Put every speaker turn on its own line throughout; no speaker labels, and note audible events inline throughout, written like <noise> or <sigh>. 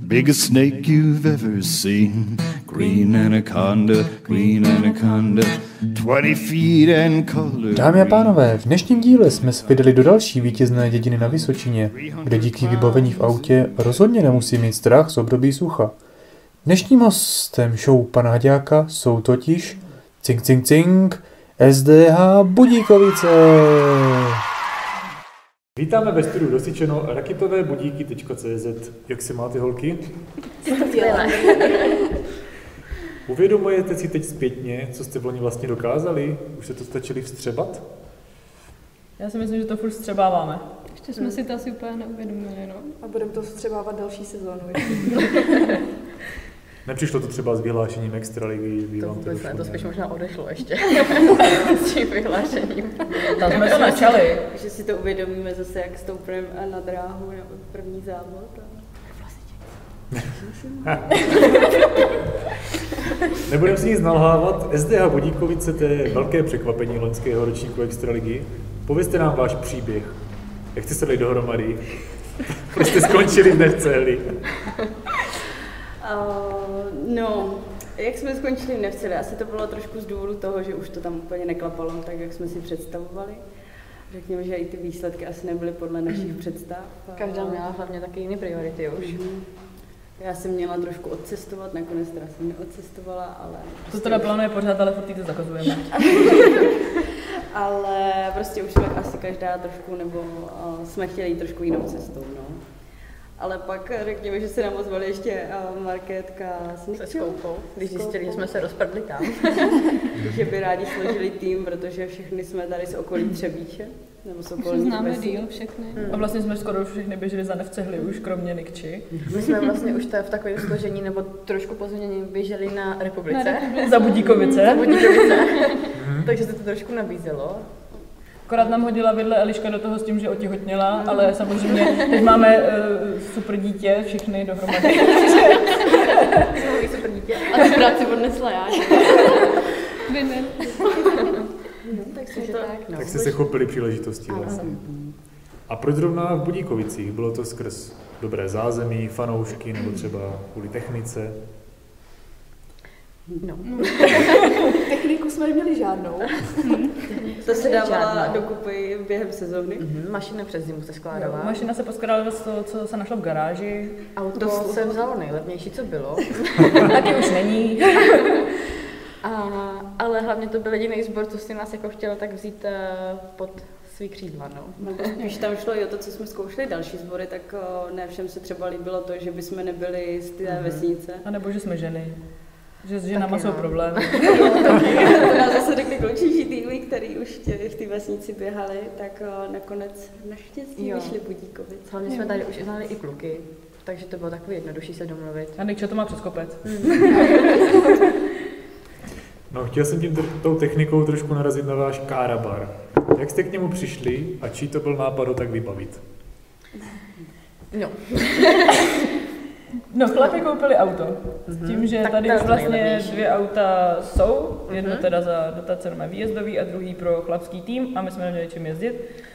biggest snake you've ever seen. Green anaconda, green anaconda, 20 feet and color.
Dámy a pánové, v dnešním díle jsme se vydali do další vítězné dědiny na Vysočině, kde díky vybavení v autě rozhodně nemusí mít strach z období sucha. Dnešním hostem show pana Hadáka jsou totiž Cink Cink Cink SDH Budíkovice. Vítáme ve studiu dosičeno raketové budíky.cz. Jak se máte holky? Uvědomujete si teď zpětně, co jste loni vlastně dokázali? Už se to stačili vstřebat?
Já si myslím, že to furt střebáváme.
Ještě jsme si to asi úplně neuvědomili, no.
A budeme to vstřebávat další sezónu.
Nepřišlo to třeba s vyhlášením extraligy, by
To
vám
vůbec ne,
došlo
to spíš
nějak?
možná odešlo
<laughs>
ještě s tím vyhlášením.
Tam jsme si začali.
že si to uvědomíme zase, jak stoupneme na dráhu nebo první závod. A...
Nebudem si nic nalhávat, SDH Budíkovice to je velké překvapení loňského ročníku extraligy. Povězte nám váš příběh. Jak jste se dali dohromady? <laughs> Proč jste skončili dnes v celi?
No,
Uh, no, jak jsme skončili, nechceli. Asi to bylo trošku z důvodu toho, že už to tam úplně neklapalo, tak jak jsme si představovali. Řekněme, že i ty výsledky asi nebyly podle našich představ. A-
Každá měla hlavně taky jiný priority už.
Mhm. Já jsem měla trošku odcestovat, nakonec teda jsem neodcestovala, ale... prostě-
To teda plánuje pořád, ale furt jí to zakazujeme.
Ale prostě už jsme asi každá trošku, nebo uh, jsme chtěli jít trošku jinou cestou, no. Ale pak eh, řekněme, že se nám ozvali ještě uh, Markétka s
Se
Nikčou,
Skoupou, když
S Koukou.
zjistili, že jsme se rozpadli tam.
že by rádi složili tým, protože všichni jsme tady z okolí Třebíče, nebo z
Už
okolí
známe díl všechny.
A vlastně jsme skoro už všechny běželi za nevcehli, už kromě Nikči.
My jsme vlastně už to v takovém složení nebo trošku pozměnění běželi na
Na
republice.
republice.
Za Budíkovice.
<laughs> Takže se to trošku nabízelo.
Akorát nám hodila vedle Eliška do toho s tím, že otihotněla, ale samozřejmě teď máme eh, super dítě, všechny dohromady.
Jsme super dítě.
A tu práci odnesla já. Vy ne.
tak jsme
Takže
to...
tak, no.
Tak jste se chopili příležitosti vlastně. A proč zrovna v Budíkovicích? Bylo to skrz dobré zázemí, fanoušky nebo třeba kvůli technice?
No.
Techniku jsme neměli
<laughs>
žádnou.
To se dávala
Žádná.
dokupy během sezóny.
Mhm, Mašina přes zimu se
Jo,
skládala.
Mašina se poskládala z toho, co se našlo v garáži.
Auto
Doslova.
se vzalo nejlevnější, co bylo.
<laughs> Taky už není.
A, ale hlavně to byl jediný sbor, co si nás jako chtěla tak vzít eh, pod svý křídla, no.
Nebo spíš tam šlo i o to, co jsme zkoušeli další sbory, tak eh, ne všem se třeba líbilo to, že bychom nebyli z té
Mhm.
vesnice.
A nebo že jsme ženy. Že s ženama
Taky
jsou
no.
problémy.
To <laughs> nás zase řekli klučičí týmy, který už tě, v té vesnici běhali, tak o, nakonec naštěstí
Jo.
vyšli budíkovice.
Hlavně jsme tady už i znali i kluky, takže to bylo takový jednodušší
<laughs>
se domluvit.
A Nikča to má přes kopec.
No, chtěl jsem tím tr- tou technikou trošku narazit na váš kárabar. Jak jste k němu přišli a čí to byl nápad ho tak vybavit?
No,
No, chlapi koupili auto. S tím, že
Mhm. Tak
tady
to je
už
to
vlastně
nejlevnější. Mhm.
dvě auta jsou, jedno teda za dotace na výjezdový a druhý pro chlapský tým a my jsme neměli čím jezdit,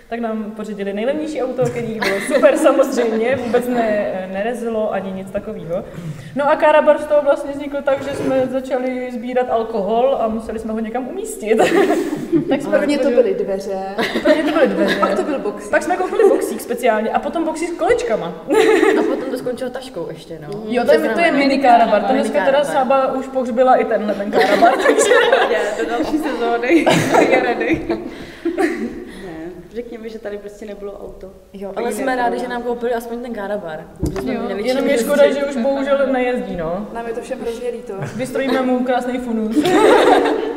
tak nám pořídili nejlevnější auto, který
<laughs>
bylo super samozřejmě, vůbec ne, nerezilo ani nic takového. No a Karabar z toho vlastně vznikl tak, že jsme začali sbírat alkohol a museli jsme ho někam umístit. <laughs> tak jsme
Prvně to
vytvořili-
byly dveře,
Prvně to byly dveře.
pak to byl box.
Pak jsme koupili boxík speciálně a potom boxík s kolečkama.
a potom to skončilo taškou ještě, no.
Jo, to je, to je mini karabar. To dneska teda Sába už pohřbila i tenhle ten karabar, takže...
<laughs> Já do další sezóny, je ready. <laughs> Ne, řekněme, že tady prostě nebylo auto.
Jo, ale jsme rádi, že nám koupili aspoň ten kárabar. Že jsme
Jo,
měli čím
Jenom je
jezdit.
škoda, že už bohužel nejezdí, no.
Nám je to všem hrozně líto.
Vystrojíme mu krásný <laughs> funus.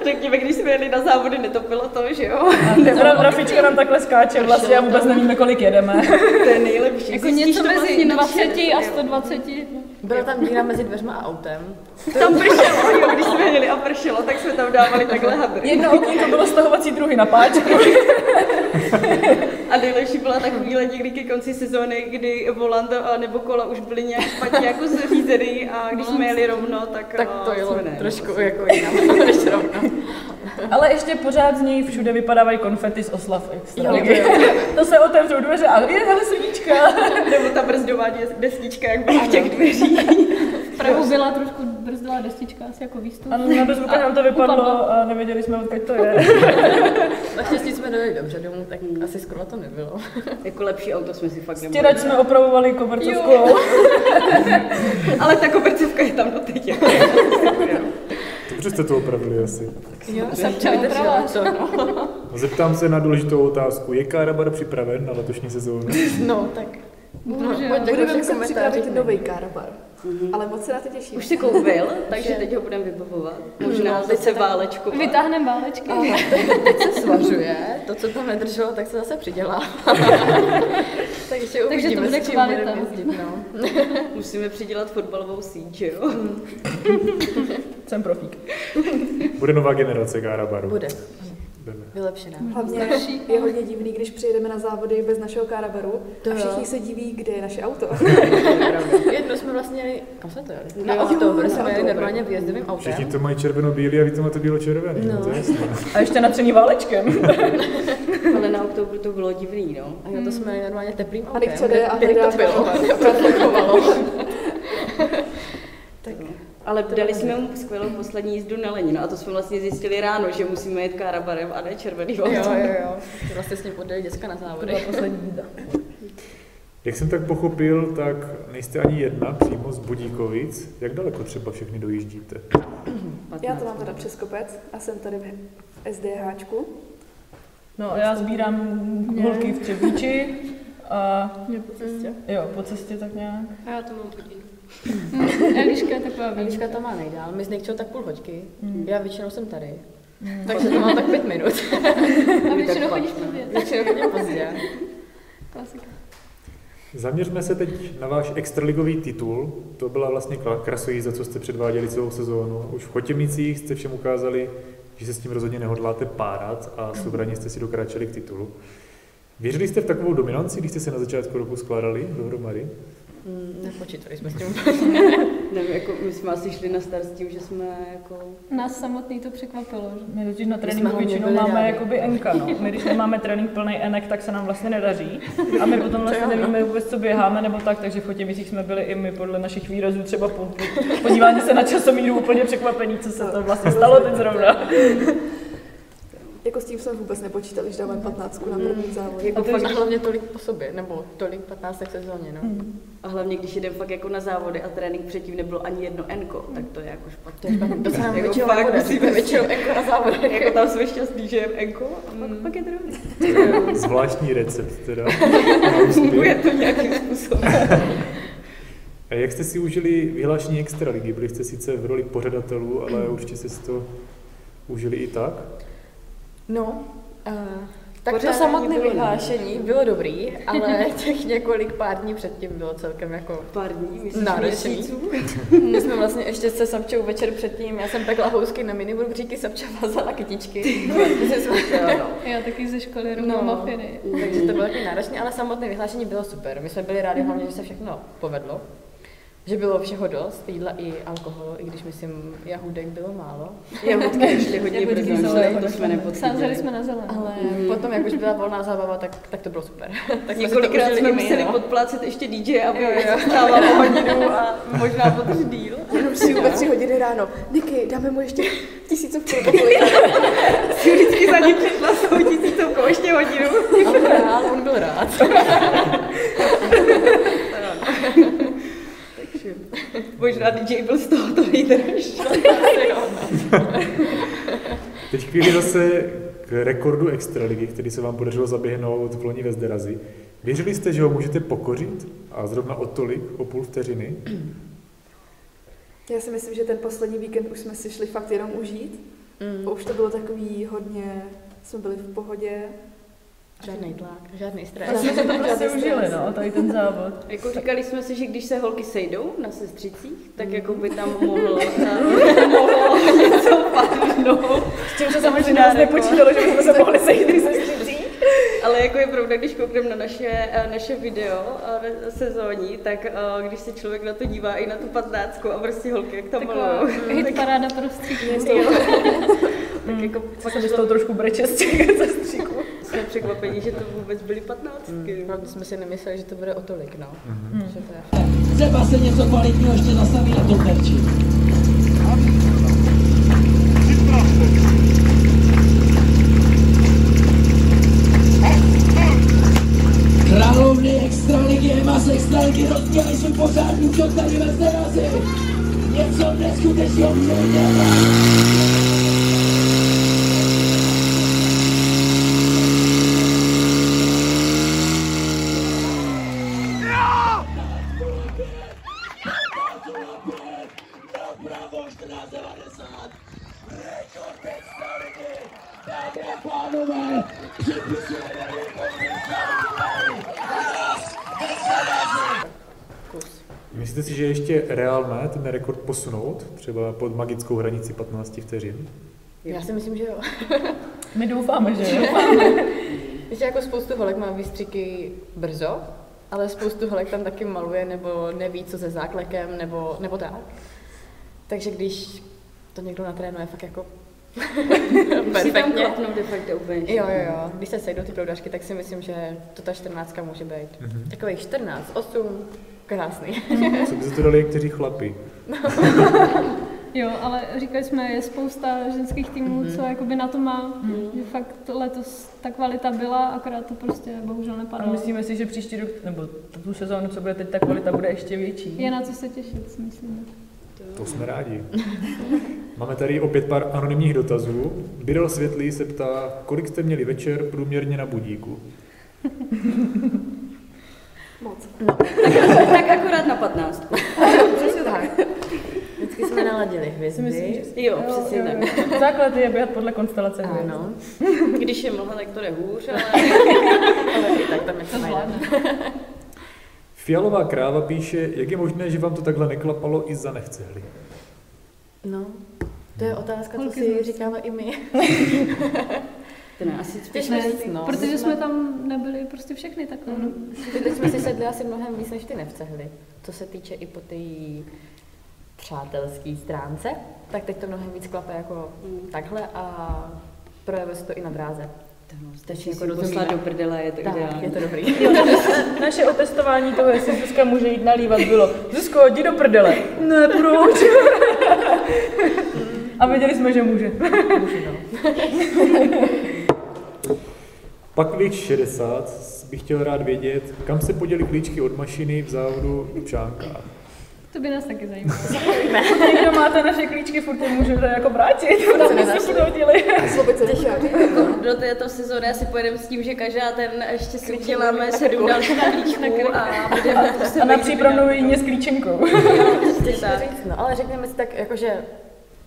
Řekněme, když jsme jeli na závody, netopilo to, že <laughs> jo?
Ra- Rafička nám takhle skáče vlastně a vůbec nevíme, kolik <laughs> jedeme.
To je nejlepší.
Jako
Zjistíš
něco
to
mezi
vlastně na
20 a
všem.
120.
Byla tam díra mezi dveřma a autem.
Tam pršelo, jo, když jsme jeli a pršelo, tak jsme tam dávali takhle hadry.
Jedno okýnko bylo stahovací druhy na páčku.
A nejlepší byla ta chvíle někdy ke konci sezóny, kdy volant a- nebo kola už byly nějak špatně jako zřízený a když jsme jeli rovno, tak,
Tak
a,
to
jsme
jelo
ne,
trošku jako jinam, než rovno.
Ale ještě pořád z něj všude vypadávají konfety z oslav extra.
Jo,
ligy. <laughs> to se otevřou dveře a je hele srdíčka.
Nebo ta brzdová dě- destička, jak byla v těch dveřích.
V Prahu byla trošku brzdila destička, asi jako výstup.
A na bezvuka nám to vypadlo
upadlo.
a nevěděli jsme, odkud to je.
<laughs> Naštěstí jsme dojeli dobře domů, tak
Mm.
asi skoro to nebylo.
<laughs> Jako lepší auto jsme si fakt nemohli.
Stěrač jsme opravovali kobercovkou.
Ale ta kobercovka je tam doteď. jako.
Dobře jste to opravili asi.
Jo,
Sapča oprava.
to, no.
Zeptám se na důležitou otázku. Je Karabar připraven na letošní sezónu?
no, tak.
Bohužel.
pojďte
Budeme
vaše
muset
komentáře.
připravit nový karabar.
Mhm.
Ale moc se na to těším.
Už si koupil, <laughs> takže No, teď ho budeme vybavovat. Možná teď se válečku.
Vytáhneme válečky.
Teď se svařuje, to, co tam nedrželo, tak se zase přidělá. <laughs> Takže uvidíme,
to bude
s čím
kvalita.
budeme
<laughs>
jezdit, no.
Musíme přidělat fotbalovou síť, že <laughs> jo?
Jsem profík.
Bude nová generace Karabaru.
Bude,
Jdeme.
vylepšená.
Hlavně
Starší.
je hodně divný, když přijedeme na závody bez našeho karabaru
To
a
jo.
všichni se diví, kde je naše
<laughs>
auto.
Jedno jsme vlastně jeli, kam jsme to jeli? Na
Jo,
Oktober
na
jsme jeli
Oktober.
normálně výjezdovým
Všichni
autem.
to mají červeno-bílý a vy to máte bílo-červený. No. To je jasné.
A ještě natřený válečkem.
Ale na oktobru to bylo divný, no.
A jo, to jsme jeli normálně teplým
Hmm. A
autem.
Nick se jde a
kde- kde
hledá
to
<laughs>
bylo. <laughs>
karabar.
Ale dali jsme mu skvělou poslední jízdu na Lenin a to jsme vlastně zjistili ráno, že musíme jet karabarem a ne červeným
Jo,
autem.
jo, jo. Vlastně s ním odjeli děcka na závody.
poslední jízda.
Jak jsem tak pochopil, tak nejste ani jedna přímo z Budíkovic. Jak daleko třeba všechny dojíždíte?
Já to mám teda přes kopec a jsem tady v SDHčku.
No, já sbírám holky v Třebíči a
Mě po cestě.
jo, po cestě tak nějak.
Mm. A já to mám hodinu. Mm. Eliška je taková výška.
Eliška to má nejdál, my s Nikčou tak půl hoďky.
Hmm.
Já většinou jsem tady.
Hmm.
Takže to mám tak pět minut. <laughs>
A většinou
Tak
chodíš
fakt, no.
pozdě.
Většinou chodím pozdě.
Klasika.
Zaměřme se teď na váš extraligový titul. To byla vlastně kla- krasojízda, co jste předváděli celou sezónu. Už v Chotěmicích jste všem ukázali, že se s tím rozhodně nehodláte párat a soubraně jste si dokráčeli k titulu. Věřili jste v takovou dominanci, když jste se na začátku roku skládali dohromady?
Mm, Nepočítali jsme s tím.
Nevím, jako my jsme asi šli na start s tím, že jsme jako...
Nás samotný to překvapilo. že?
My totiž na
jsme
tréninku
hlavně
většinou
byli
máme
rádi.
jakoby enka, no. My když nemáme trénink plný enek, tak se nám vlastně nedaří. A my potom vlastně nevíme vůbec, co běháme nebo tak, takže v chotěmicích jsme byli i my podle našich výrazů třeba po, podíváte se na časomíru úplně překvapení, co se to vlastně stalo teď zrovna.
Jako s tím jsem vůbec nepočítal, když dávám 15 na
Hmm.
první závod.
Jako
A to
fakt
ještě-
hlavně tolik po sobě, nebo tolik 15 v sezóně, no.
A hlavně, když jdem fakt jako na závody a trénink předtím nebylo ani jedno enko, tak to je jako špatně.
To <laughs> se nám
Jako
většinou
fakt
nebude,
musíme
<laughs> jsme většinou jako na závodech.
jako tam jsme šťastní, že jem enko a pak, pak je to dobrý.
Zvláštní recept teda.
Funguje to nějakým způsobem.
A jak jste si užili vyhlášení extraligy? Byli jste sice v roli pořadatelů, ale určitě jste si to užili i tak.
No, uh, tak
Pořádání
to samotné
bylo
vyhlášení bylo dobrý, ale <laughs> těch několik pár dní předtím bylo celkem jako
Pár dní, myslíš
Náročný.
měsíců?
My jsme vlastně ještě se Sapčou večer předtím, já jsem pekla housky na miniburgříky, <laughs> Sapča vázala kytičky. <laughs> Takže jsme-
Jo,
<laughs>
no.
Já taky ze školy
No.
rovnou mafiny.
Takže to bylo taky náročné, ale samotné vyhlášení bylo super. My jsme byli rádi hlavně, že se všechno povedlo. Že bylo všeho dost, jídla i alkoholu, i když myslím, jahůdek bylo málo.
Jahodky ještě hodně
Jahodky
brzo,
jsou
ale to
jahodky.
jsme
Sázeli
nepocítili.
jsme na zelenou.
Ale
Mm.
potom, jak už byla volná zábava, tak, tak to bylo super. <laughs> tak prostě si to
Několikrát
užili
jsme
i my,
museli
no.
podplácet ještě DJ, aby
Jo, jo.
stávalo hodinu a možná po tři díl.
Jenom
<laughs>
si ve tři hodiny ráno. Niky, dáme mu ještě <laughs> tisícovku. nebo kolik.
Si vždycky za ním přišla s tou tisícovkou ještě hodinu.
On byl <laughs> rád, on byl rád.
Takže možná DJ byl z toho to nejdražší.
Teď chvíli zase k rekordu extraligy, který se vám podařilo zaběhnout v loni ve Zderazi. Věřili jste, že ho můžete pokořit? A zrovna o tolik, o půl vteřiny?
Já si myslím, že ten poslední víkend už jsme si šli fakt jenom užít.
Mm.
Už to bylo takový hodně, jsme byli v pohodě.
Žádný tlak, žádný
Tak
stres.
jsme se to prostě užili, no, tady ten závod.
Jako říkali jsme si, že když se holky sejdou na sestřicích, tak jako by tam <laughs> mohlo, mohlo něco padnout.
S čím se samozřejmě
Možná
nás nepočítalo, že bychom se mohli sejít, když se střící.
Ale jako je pravda, když koukneme na naše, eh, naše video eh, sezónní, tak eh, když se člověk na to dívá i na tu patnáctku a prostě holky, jak tam
Taková
malou.
hit paráda prostředí.
Mě z toho-
tak
Mm.
jako
Pak
fakt
jsem z toho trošku breče z těch zastříků.
jsme překvapení, že to vůbec byly patnáctky.
No, jsme si nemysleli, že to bude o tolik, no. Že to je
Třeba se něco kvalitního ještě zastaví na tom terči. Královny extraligy, emas extraligy, rozměli svůj pořádný čok tady ve zerazy. Něco neskutečného přijde.
Myslíte si, že je ještě reálné ten rekord posunout? Třeba pod magickou hranici 15 vteřin?
Já si myslím, že jo.
My doufáme, že jo.
Víš, jako spoustu holek má výstřiky brzo, ale spoustu holek tam taky maluje nebo neví, co se záklekem nebo, nebo tak. Takže když to někdo natrénuje
<laughs>
fakt jako
Si tam
perfektně.
klapnou de facto úplně.
Jo, jo, jo. Když se sejdou ty proudařky, tak si myslím, že to ta 14 může být.
Mhm.
Mm-hmm. Takových 14, 8, krásný.
Co by se to dali někteří chlapi?
Jo, ale říkali jsme, je spousta ženských týmů, co jakoby na to má. Že fakt letos ta kvalita byla, akorát to prostě bohužel
A
nepadlo.
myslíme si, že příští rok, nebo tu sezónu, co bude teď, ta kvalita bude ještě větší.
Je na co se těšit, si myslím.
To jsme rádi. Máme tady opět pár anonymních dotazů. Birel Světlý se ptá, kolik jste měli večer průměrně na budíku?
Moc.
Tak akorát na patnáctku.
Přesně tak. Vždycky jsme naladili hvězdy.
myslím, že-
Jo, přesně tak.
Základ je běhat podle konstelace hvězd.
Ano,
Když je mlha, tak to jde hůř, ale
<laughs> ale i tak tam něco najdeme.
Fialová kráva píše, jak je možné, že vám to takhle neklapalo i za nechceli.
No, to je otázka, co
Holky z
si
nás.
říkáme i my.
to ne, asi spíš
Těžko
ne,
říct, no.
Protože jsme tam nebyli prostě všechny takhle. No.
Mm-hmm.
Ty teď jsme si sedli asi mnohem víc, než ty nevcehli. Co se týče i po té přátelské stránce, tak teď to mnohem víc klape jako
Mm.
takhle a projevuje se to i na dráze.
To no, Stačí
Jako
jako
rozumíme.
poslat do prdele, je to
Tak,
ideální.
je to dobrý.
Naše otestování toho, jestli Zuzka může jít nalívat, bylo Zuzko, jdi do prdele. Ne, proč? A věděli jsme, že může.
Pak věk 60 bych chtěl rád vědět, kam se poděly klíčky od mašiny v závodu v Čánkách.
To by nás taky zajímalo.
Někdo máte naše klíčky, furt je můžete jako vrátit. Tam jsme se hodili.
Slovice pořád.
Do této sezóny asi pojedeme s tím, že každá ten ještě si uděláme sedm dalších klíčků a budeme prostě
A na přípravnou jině s klíčenkou.
Přesně tak.
Říct, No, ale řekněme si tak, jakože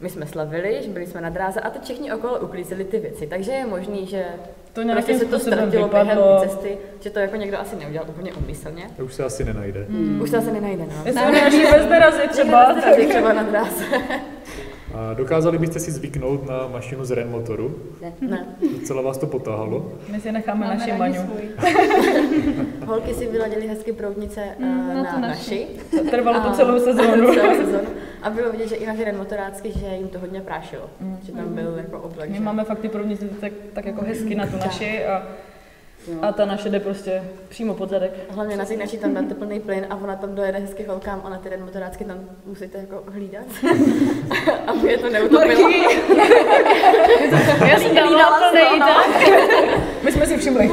my jsme slavili, že byli jsme na dráze a teď všichni okolo uklízeli ty věci, takže je možný, že
To nějakým
prostě se to
způsobem
ztratilo během
vypadlo.
té cesty, že to jako někdo asi neudělal úplně umyslně.
To už se asi nenajde.
Hmm.
Už se asi nenajde, no.
Jestli jsme naši bezderazy třeba.
Někdo narazí třeba na dráze.
A dokázali byste si zvyknout na mašinu z Renmotoru?
Ne.
Docela vás to potáhalo.
My si necháme naši
rádi
maňu.
svoji.
Holky si vyladily hezky proudnice
Hmm,
Mm,
eh,
no
na
na
to
naši.
Trvalo to
A-
celou sezónu.
<laughs> celou sezónu. A bylo vidět, že i na heren motorácky, že jim to hodně prášilo. Že tam byl jako oblek.
Hmm. My
že-
máme fakt ty provnice tak, tak jako hezky na tu naši a,
No.
a ta naše jde prostě přímo pod zadek.
Hlavně na těch naší tam dáte plný plyn a ona tam dojede hezky holkám a na ty den motorácky tam musíte jako hlídat, <laughs> aby je to neutopilo.
Já jsem dala to nejde. My jsme si všimli.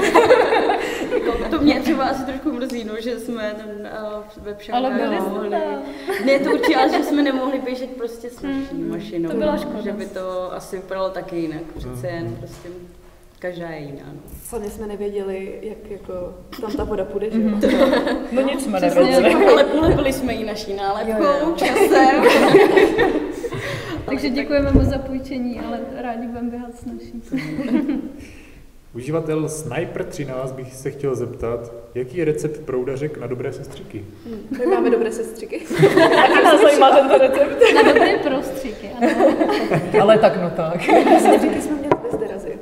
Jako, To mě třeba asi trošku mrzí, no, že jsme ten, uh, ve
Ale
Pšankách
byli
nemohli.
jsme tam.
Ne, to určitě, ale že jsme nemohli běžet prostě s naší
Mm,
mašinou.
to byla
no,
škoda.
Že by to asi vypadalo taky jinak. Přece jen prostě každá je jiná. No.
Sami jsme nevěděli, jak jako tam ta voda půjde, že jo?
No nic jsme
Přesně.
nevěděli.
Ale polebili jsme ji naší nálepkou,
Jo, jo.
<laughs> časem.
Takže děkujeme moc za půjčení, ale rádi budeme běhat s naší.
<laughs>
Uživatel Sniper13 bych se chtěl zeptat, jaký je recept proudařek na dobré sestřiky?
My máme Hmm. dobré sestřiky.
<laughs> Taky nás zajímá tento recept.
Na dobré prostříky, ano.
Ale tak no tak.
Sestřiky jsme měli bez derazy.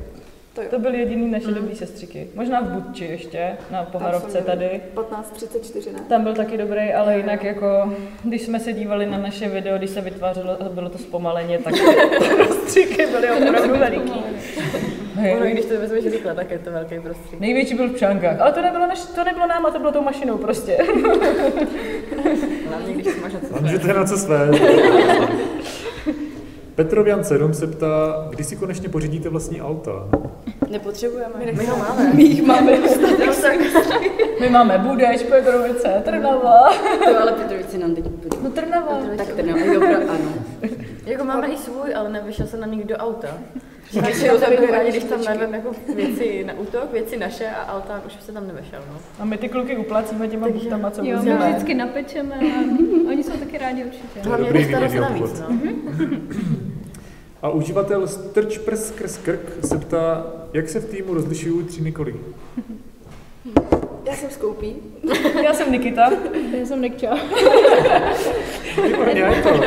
To jo. jo.
To byly jediný naše dobrý sestřiky. Možná v Budči ještě, na poharovce tady.
15.34, ne?
Tam byl taky dobrý, ale jinak jako, když jsme se dívali na naše video, když se vytvářelo a bylo to zpomaleně, <laughs> tak ty rozstřiky byly opravdu veliký.
Ono, i když to vezmeš rychle, tak je to velký prostředí.
Největší byl v Čankách, ale to nebylo, naš, to nebylo nám, a to bylo tou mašinou prostě.
Hlavně, když si máš na co
Tam, že to je na co své. Petrovian 7 se ptá, kdy si konečně pořídíte vlastní auta?
Nepotřebujeme. My ho máme.
My jich
<laughs>
máme <laughs> My máme Budeš, Petrovice, Trnava.
To ale Petrovici nám teď podívá.
No Trnava.
Tak ten jo, dobro, ano.
Jako máme i svůj, ale nevyšel se na nikdo auta. Většinou tam byl rádi, když tam nevím jako věci na útok, věci naše a auta už se tam nevešel. No.
A my ty kluky uplácíme těma buchtama, co
Jo, my
vozíme.
vždycky napečeme a oni jsou taky rádi určitě.
To je
Hlavně
dobrý
dostalo se
výměný
navíc.
obchod.
No.
A uživatel Strč prs krz krk se ptá, jak se v týmu rozlišují tříny kolegy?
Já jsem skoupí.
Já jsem Nikita.
Já jsem Nikča.
Výborně, je to.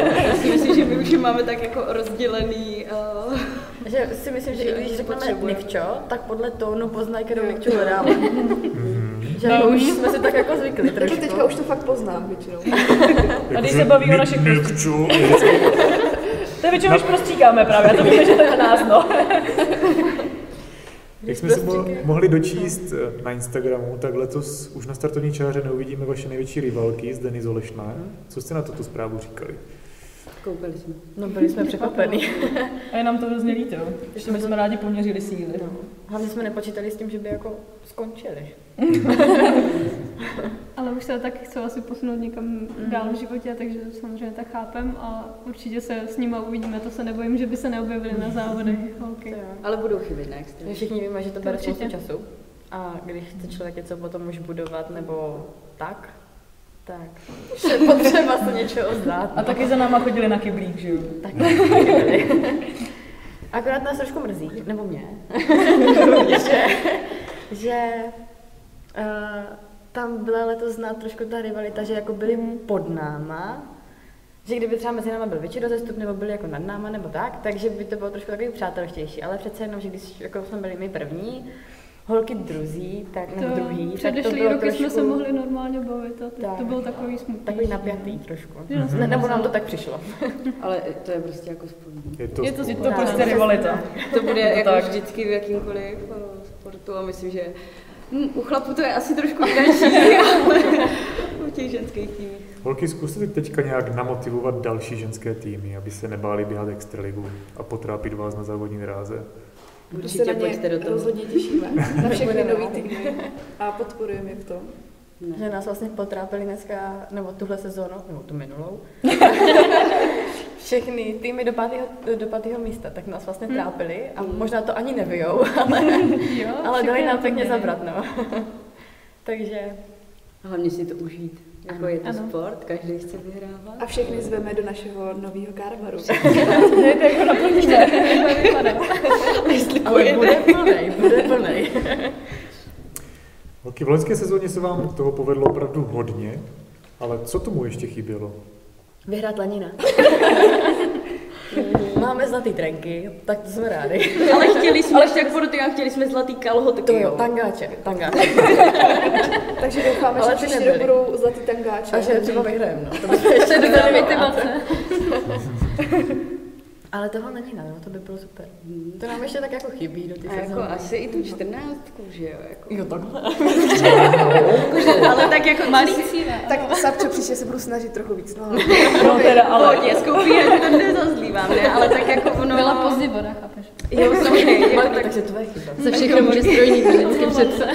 Myslím si, že my už je máme tak jako rozdělený. Uh,
Že si myslím, že i když řekneme
potřebujeme.
Nikčo, tak podle tónu poznají, kterou Nikčo hledáme.
Mhm.
Že jako už jsme si tak jako zvykli
Jako
trošku.
teďka už to fakt poznám většinou.
A
Jako
když se baví o našich <laughs>
Milkču.
To je většinou, když prostříkáme právě, a to víme, že to je na nás, no.
Jak jsme si mo- mohli dočíst eh, na Instagramu, tak letos už na startovní čáře neuvidíme vaše největší rivalky z Deny Zolešné. Co jste na tuto zprávu říkali?
koupili jsme.
No byli jsme překvapení.
A je nám to hrozně líto, že my jsme rádi poměřili síly.
<laughs> Hlavně jsme nepočítali s tím, že by jako skončili.
Ale už se taky chcou asi posunout někam
Mhm.
dál v životě, takže samozřejmě tak chápem a určitě se s nima uvidíme, to se nebojím, že by se neobjevili na závodech.
Mhm. To
Okay.
jo.
Ale budou chybět na extra.
My všichni víme, že to
To
bere spoustu
určitě.
času. A když chce člověk něco potom už budovat nebo tak, tak už je <laughs> potřeba se něčeho zdát.
A
no.
taky za náma chodili na kyblík, že jo?
tak. Akorát nás trošku mrzí, nebo
<laughs>
mě, že, že uh, tam byla letos znát trošku ta rivalita, že jako byli pod náma, že kdyby třeba mezi náma byl větší rozestup, nebo byli jako nad náma, nebo tak, takže by to bylo trošku takový přátelštější. Ale přece jenom, že když jako jsme byli my první, holky druzí, tak nebo jako druhý,
To
tak to
předešlý
bylo
roky
trošku
jsme se mohli normálně bavit a teď
Tak.
to bylo takový smutný.
takový napjatý
no.
trošku.
Že nás
Ne, nebo nám to tak přišlo.
Ale to je prostě jako spolu.
Je to,
Je to
Je to
Tak.
prostě rivalita.
To bude
Je to
jako
tak.
vždycky v jakýmkoliv eh, sportu a myslím, že hm, u chlapů to je asi <laughs> trošku jiné, ale u těch ženských týmech.
Holky, zkuste teďka nějak namotivovat další ženské týmy, aby se nebáli běhat extraligu a potrápit vás na závodní dráze.
To se na
Určitě pojďte do
ně
toho.
rozhodně těšíme. Na všechny
Budeme
nový
rádi.
týmy. A podporujeme je v tom.
Ne.
Že nás vlastně potrápili dneska, nebo tuhle sezónu, nebo tu minulou, <laughs> všechny týmy do pátého, do pátého místa, tak nás
Hmm.
vlastně trápili a možná to ani <laughs> nevyjou, ale,
Jo,
ale dali
všechny
nám
to
pěkně
byli.
zabrat, no. <laughs> Takže
Hlavně si to užít. Jako
Ano.
je to
Ano.
sport, každý chce vyhrávat.
A všechny zveme do našeho nového karvaru.
Jdete jako na plníže.
ale bude plnej, bude plnej.
<laughs>
Holky, v loňské sezóně se vám toho povedlo opravdu hodně, ale co tomu ještě chybělo?
<laughs>
Vyhrát Lanina. <laughs> Máme zlatý trenky, tak to jsme rádi.
Ale chtěli jsme, ale jak porty, a chtěli jsme zlatý jako kalhoty.
<laughs> To jo, tangáče, tangáče.
Takže doufáme,
Ale
že
ty
příští rok
nebyli.
budou zlatý tangáče.
A že třeba vyhrajeme, no. To bychom <laughs> ještě dodali motivace. Ale toho není, no, to by bylo super. To nám ještě tak jako chybí do ty
Hmm. A jako
sezóny.
asi i tu čtrnáctku, že jo? Jako.
Jo, takhle.
Ale tak jako malý
Cíle.
Tak Savče, příště se budu snažit trochu víc. <laughs> No.
No teda, ale
pohodě, skoupí, já to nezazlívám, ne? Ale tak jako ono...
Byla
No.
pozdě voda, chápeš?
Jo, samozřejmě, jako tak...
Takže to je chyba.
Ze všechno může strojní vždycky přece.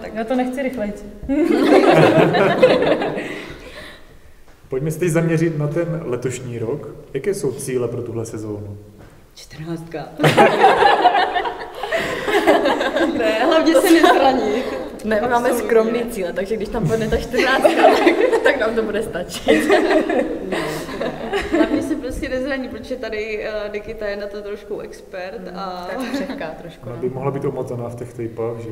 tak já to nechci rychlejc.
Pojďme se teď zaměřit na ten letošní rok. Jaké jsou cíle pro tuhle sezónu?
Čtrnáctka. <laughs> ne, hlavně se nezraní.
Ne, my máme
Absolutně.
skromný cíle, takže když tam padne ta <laughs> 14, tak, tak nám to bude stačit.
Hlavně se prostě nezraní, protože tady uh, Nikita je na to trošku expert a...
Tak křehká trošku.
Ona
no.
by mohla být omotaná v těch tejpách, že?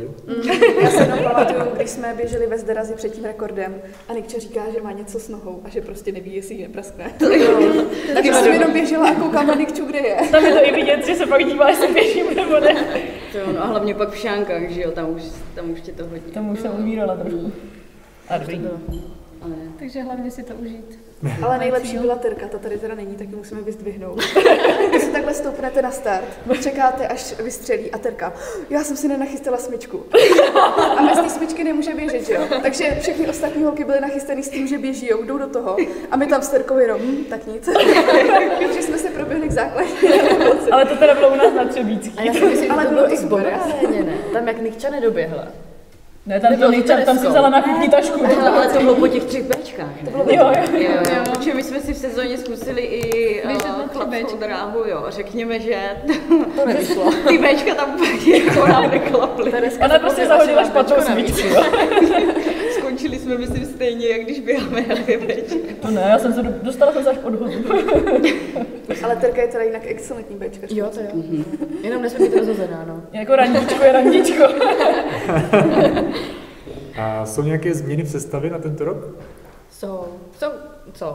Já se jenom pamatuju, když jsme běželi ve Zderazi před tím rekordem a Nikča říká, že má něco s nohou a že prostě neví, jestli ji nepraskne. <laughs> tak jsem jenom běžela a koukám na Nikču, kde je.
Tam je to i vidět, že se pak dívá, jestli běžím nebo ne.
To, jo, no a hlavně pak v šánkách, že jo, tam už, tam už tě to hodí.
Tam už jsem umírala trošku. A dobrý.
Ale ne.
Takže hlavně si to užít.
Ale nejlepší byla Terka, ta tady teda není, tak ji musíme vyzdvihnout. <laughs> Když si takhle stoupnete na start, čekáte, až vystřelí a Terka, já jsem si nenachystala smyčku. A bez té smyčky nemůže běžet, že jo? Takže všechny ostatní holky byly nachystaný s tím, že běží, jo, jdou do toho. A my tam s Terkou jenom, hm, tak nic. <laughs> Takže jsme se proběhli k základně.
Ale to teda bylo u nás na Třebícký.
A já si myslím,
Ale
že to
bylo
bylo
to
i
super.
zbombardeně, ne? Tam jak Nikča nedoběhla.
Ne, tam,
Nebylo
to,
to
nejčas, tam si
Česko.
vzala na kuchni tašku.
No, Ale to bylo po těch třech Bčkách. ne?
Jo, jo.
Jo, jo. Protože my jsme si v sezóně zkusili i
Běžet na
eh,
tři
chlapskou
Bčka.
dráhu, jo. Řekněme, že to nevyšlo. ty Bčka tam pak jako nám neklaply.
Ona prostě zahodila špatnou smyčku. jo.
Skončili jsme, myslím, stejně, jak když běháme na dvě Bčka.
To ne, já jsem se, do- dostala jsem se až pod hodu.
Ale Terka je teda jinak excelentní bečka.
Jo, to jo. Jenom nesmí být rozhozená, no.
Jako randičko je randičko.
A jsou nějaké změny v sestavě na tento rok?
Jsou. Jsou. Jsou.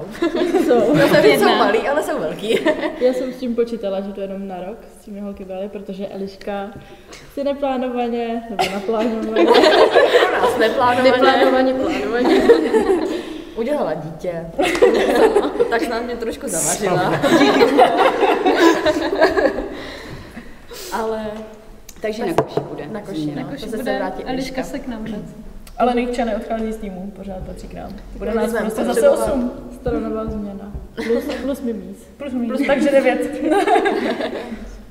Jsou.
No, nevím, jsou malý, ale jsou velký.
Já jsem s tím počítala, že to jenom na rok s tím holky byly, protože Eliška si neplánovaně, nebo naplánovaně,
Pro nás neplánované.
neplánovaně, plánovaně,
<laughs> Udělala dítě. tak nám mě trošku zavařila. <laughs> ale
Takže na koši bude.
na koši, no.
Na
to
koši
zase
bude
vrátí
Eliška se k nám vrát.
<clears throat>
Ale Nikča neodchází z týmu, pořád patří k nám. Bude nás
Budeme
prostě zase
potřebovat.
osm.
staronová změna. Plus, plus mimís.
Plus minus, takže devět.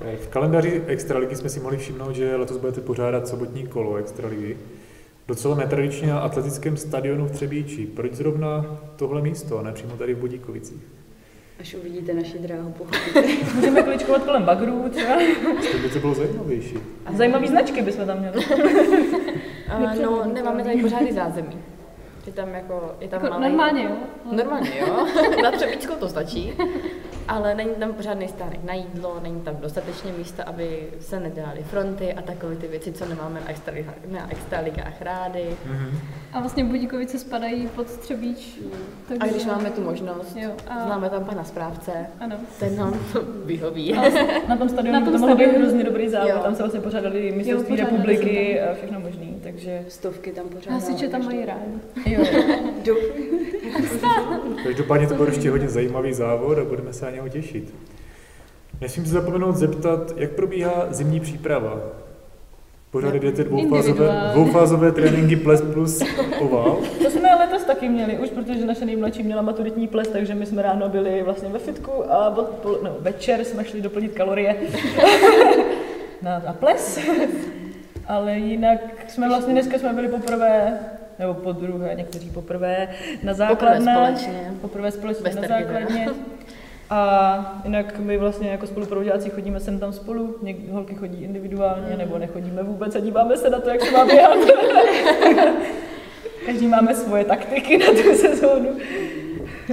Eh, V kalendáři Extraligy jsme si mohli všimnout, že letos budete pořádat sobotní kolo Extraligy. Docela netradičně na atletickém stadionu v Třebíči. Proč zrovna tohle místo, a ne přímo tady v Budíkovicích?
Až uvidíte naši dráhu, pochopíte.
<laughs> Můžeme kličkovat kolem bagrů třeba.
To by to bylo zajímavější.
Zajímavý značky bychom tam měli.
A, no, nemáme tady pořádný zázemí. Je tam jako, je tam
Jako
malý.
normálně, jo?
Normálně, jo. <laughs> Na přepíčku to stačí. Ale není tam pořádný stánek na jídlo, není tam dostatečně místa, aby se nedělaly fronty a takové ty věci, co nemáme na extra, na extra ligách rády.
A vlastně Budíkovice spadají pod Třebíč.
A když máme tu možnost,
Jo, a-
známe tam pana správce,
Ano.
ten nám <laughs> to vyhoví.
Na tom
Na
stadionu
tom
to mohlo být
stadionu.
hrozně dobrý
Jo.
závod. Tam se vlastně pořádali mistrovství
pořádali
republiky a všechno možný,
<laughs>
takže...
Stovky tam pořád.
Hasiče tam mají rádi.
Jo.
Každopádně to bude ještě hodně zajímavý závod a budeme se na něho těšit. Nesmím se zapomenout zeptat, jak probíhá zimní příprava? Pořád jdete dvoufázové,
Individuálně.
<laughs>
dvoufázové tréninky ples plus ovál.
To jsme letos taky měli už, protože naše nejmladší měla maturitní ples, takže my jsme ráno byli vlastně ve fitku a odpol- no, večer jsme šli doplnit kalorie <laughs> na, na ples. Ale jinak jsme vlastně dneska jsme byli poprvé, nebo po druhé, někteří poprvé na základné.
společně.
Poprvé společně
Bez
na
Terky teda.
základně. A jinak my vlastně jako spoluprovodáci chodíme sem tam spolu, Něk- holky chodí individuálně nebo nechodíme vůbec a díváme se na to, jak se má běhat. <laughs> Každý máme svoje taktiky na tu sezónu.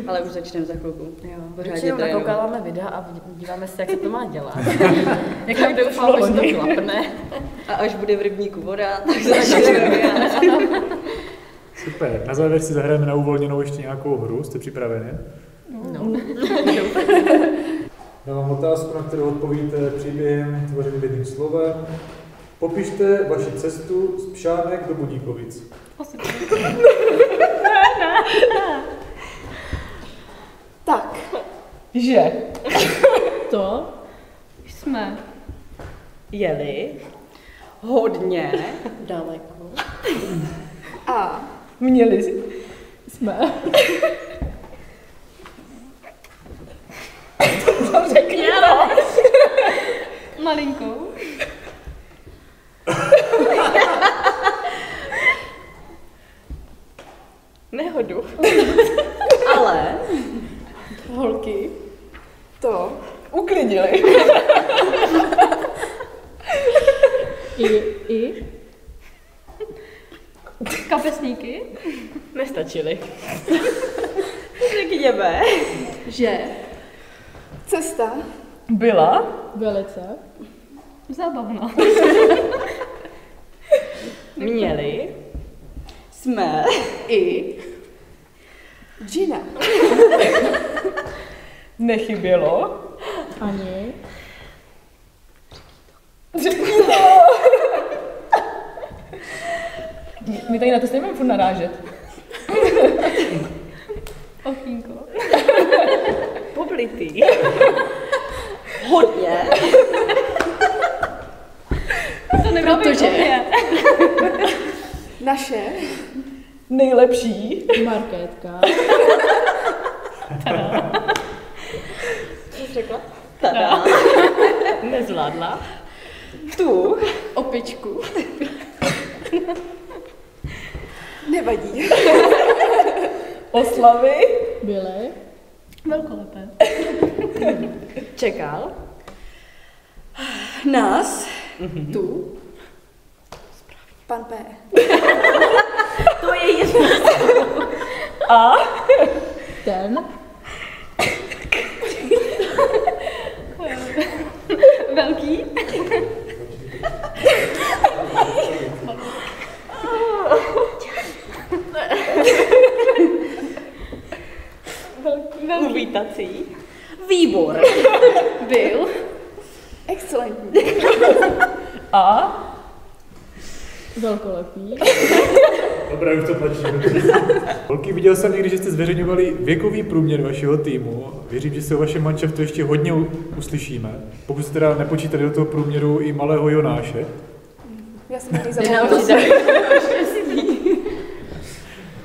Ale už začneme za chvilku. Jo, pořádně
Většinou
trénovat.
nakoukáváme videa a díváme se, jak se to má dělat. <laughs>
Jak nám to šlo
Doufám, že
loni.
to klapne.
A až bude v rybníku voda, <laughs> tak začneme.
Super, na závěr si zahrajeme na uvolněnou ještě nějakou hru, jste připraveni?
No.
<laughs> Já vám otázku, na kterou odpovíte příběhem tvořeným jedním slovem. Popište vaši cestu z Pšánek do Budíkovic.
Tak,
Že?
To?
Jsme.
Jeli hodně
Daleko.
a
<laughs> Měli jsme. to řekni, no.
Malinkou.
Nehodu.
Ale
Holky.
to,
Uklidili.
I, i,
Kapesníky.
Nestačili.
řekněme,
že,
Cesta.
Byla?
Velice.
Zábavná.
Měli jsme i
Gina.
Nechybělo?
Ani.
My tady na to stejně budeme furt narážet.
Ochínko.
poblitý. Hodně.
To nebylo
Protože-
Protože...
Naše.
Nejlepší.
Markétka.
Co jsi řekla?
Tada. Nezvládla. Tu opičku.
Nevadí.
Oslavy.
Byly.
Velkolepé.
Čekal. Nás. Tu.
Pan P.
To je jedno.
A?
Ten.
Velký.
Uvítací. Výbor.
Byl.
Excelentní.
A?
Velkolepý.
Dobrá, už to platí. Holky, viděl jsem někdy, že jste zveřejňovali věkový průměr vašeho týmu. Věřím, že se o vašem manšaftu ještě hodně u- uslyšíme. Pokud jste teda nepočítali do toho průměru i malého Jonáše.
Já jsem na něj
Jde na
zapomněla.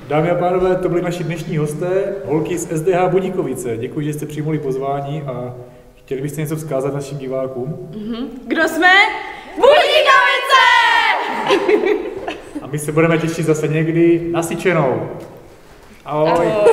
Dámy a pánové, to byli naši dnešní hosté, holky z SDH Buníkovice. Děkuji, že jste přijmuli pozvání a chtěli byste něco vzkázat našim divákům.
Mhm. Kdo jsme?
<laughs>
Budíkovice!
A my se budeme těšit zase někdy nasyčenou. Ahoj. Ahoj.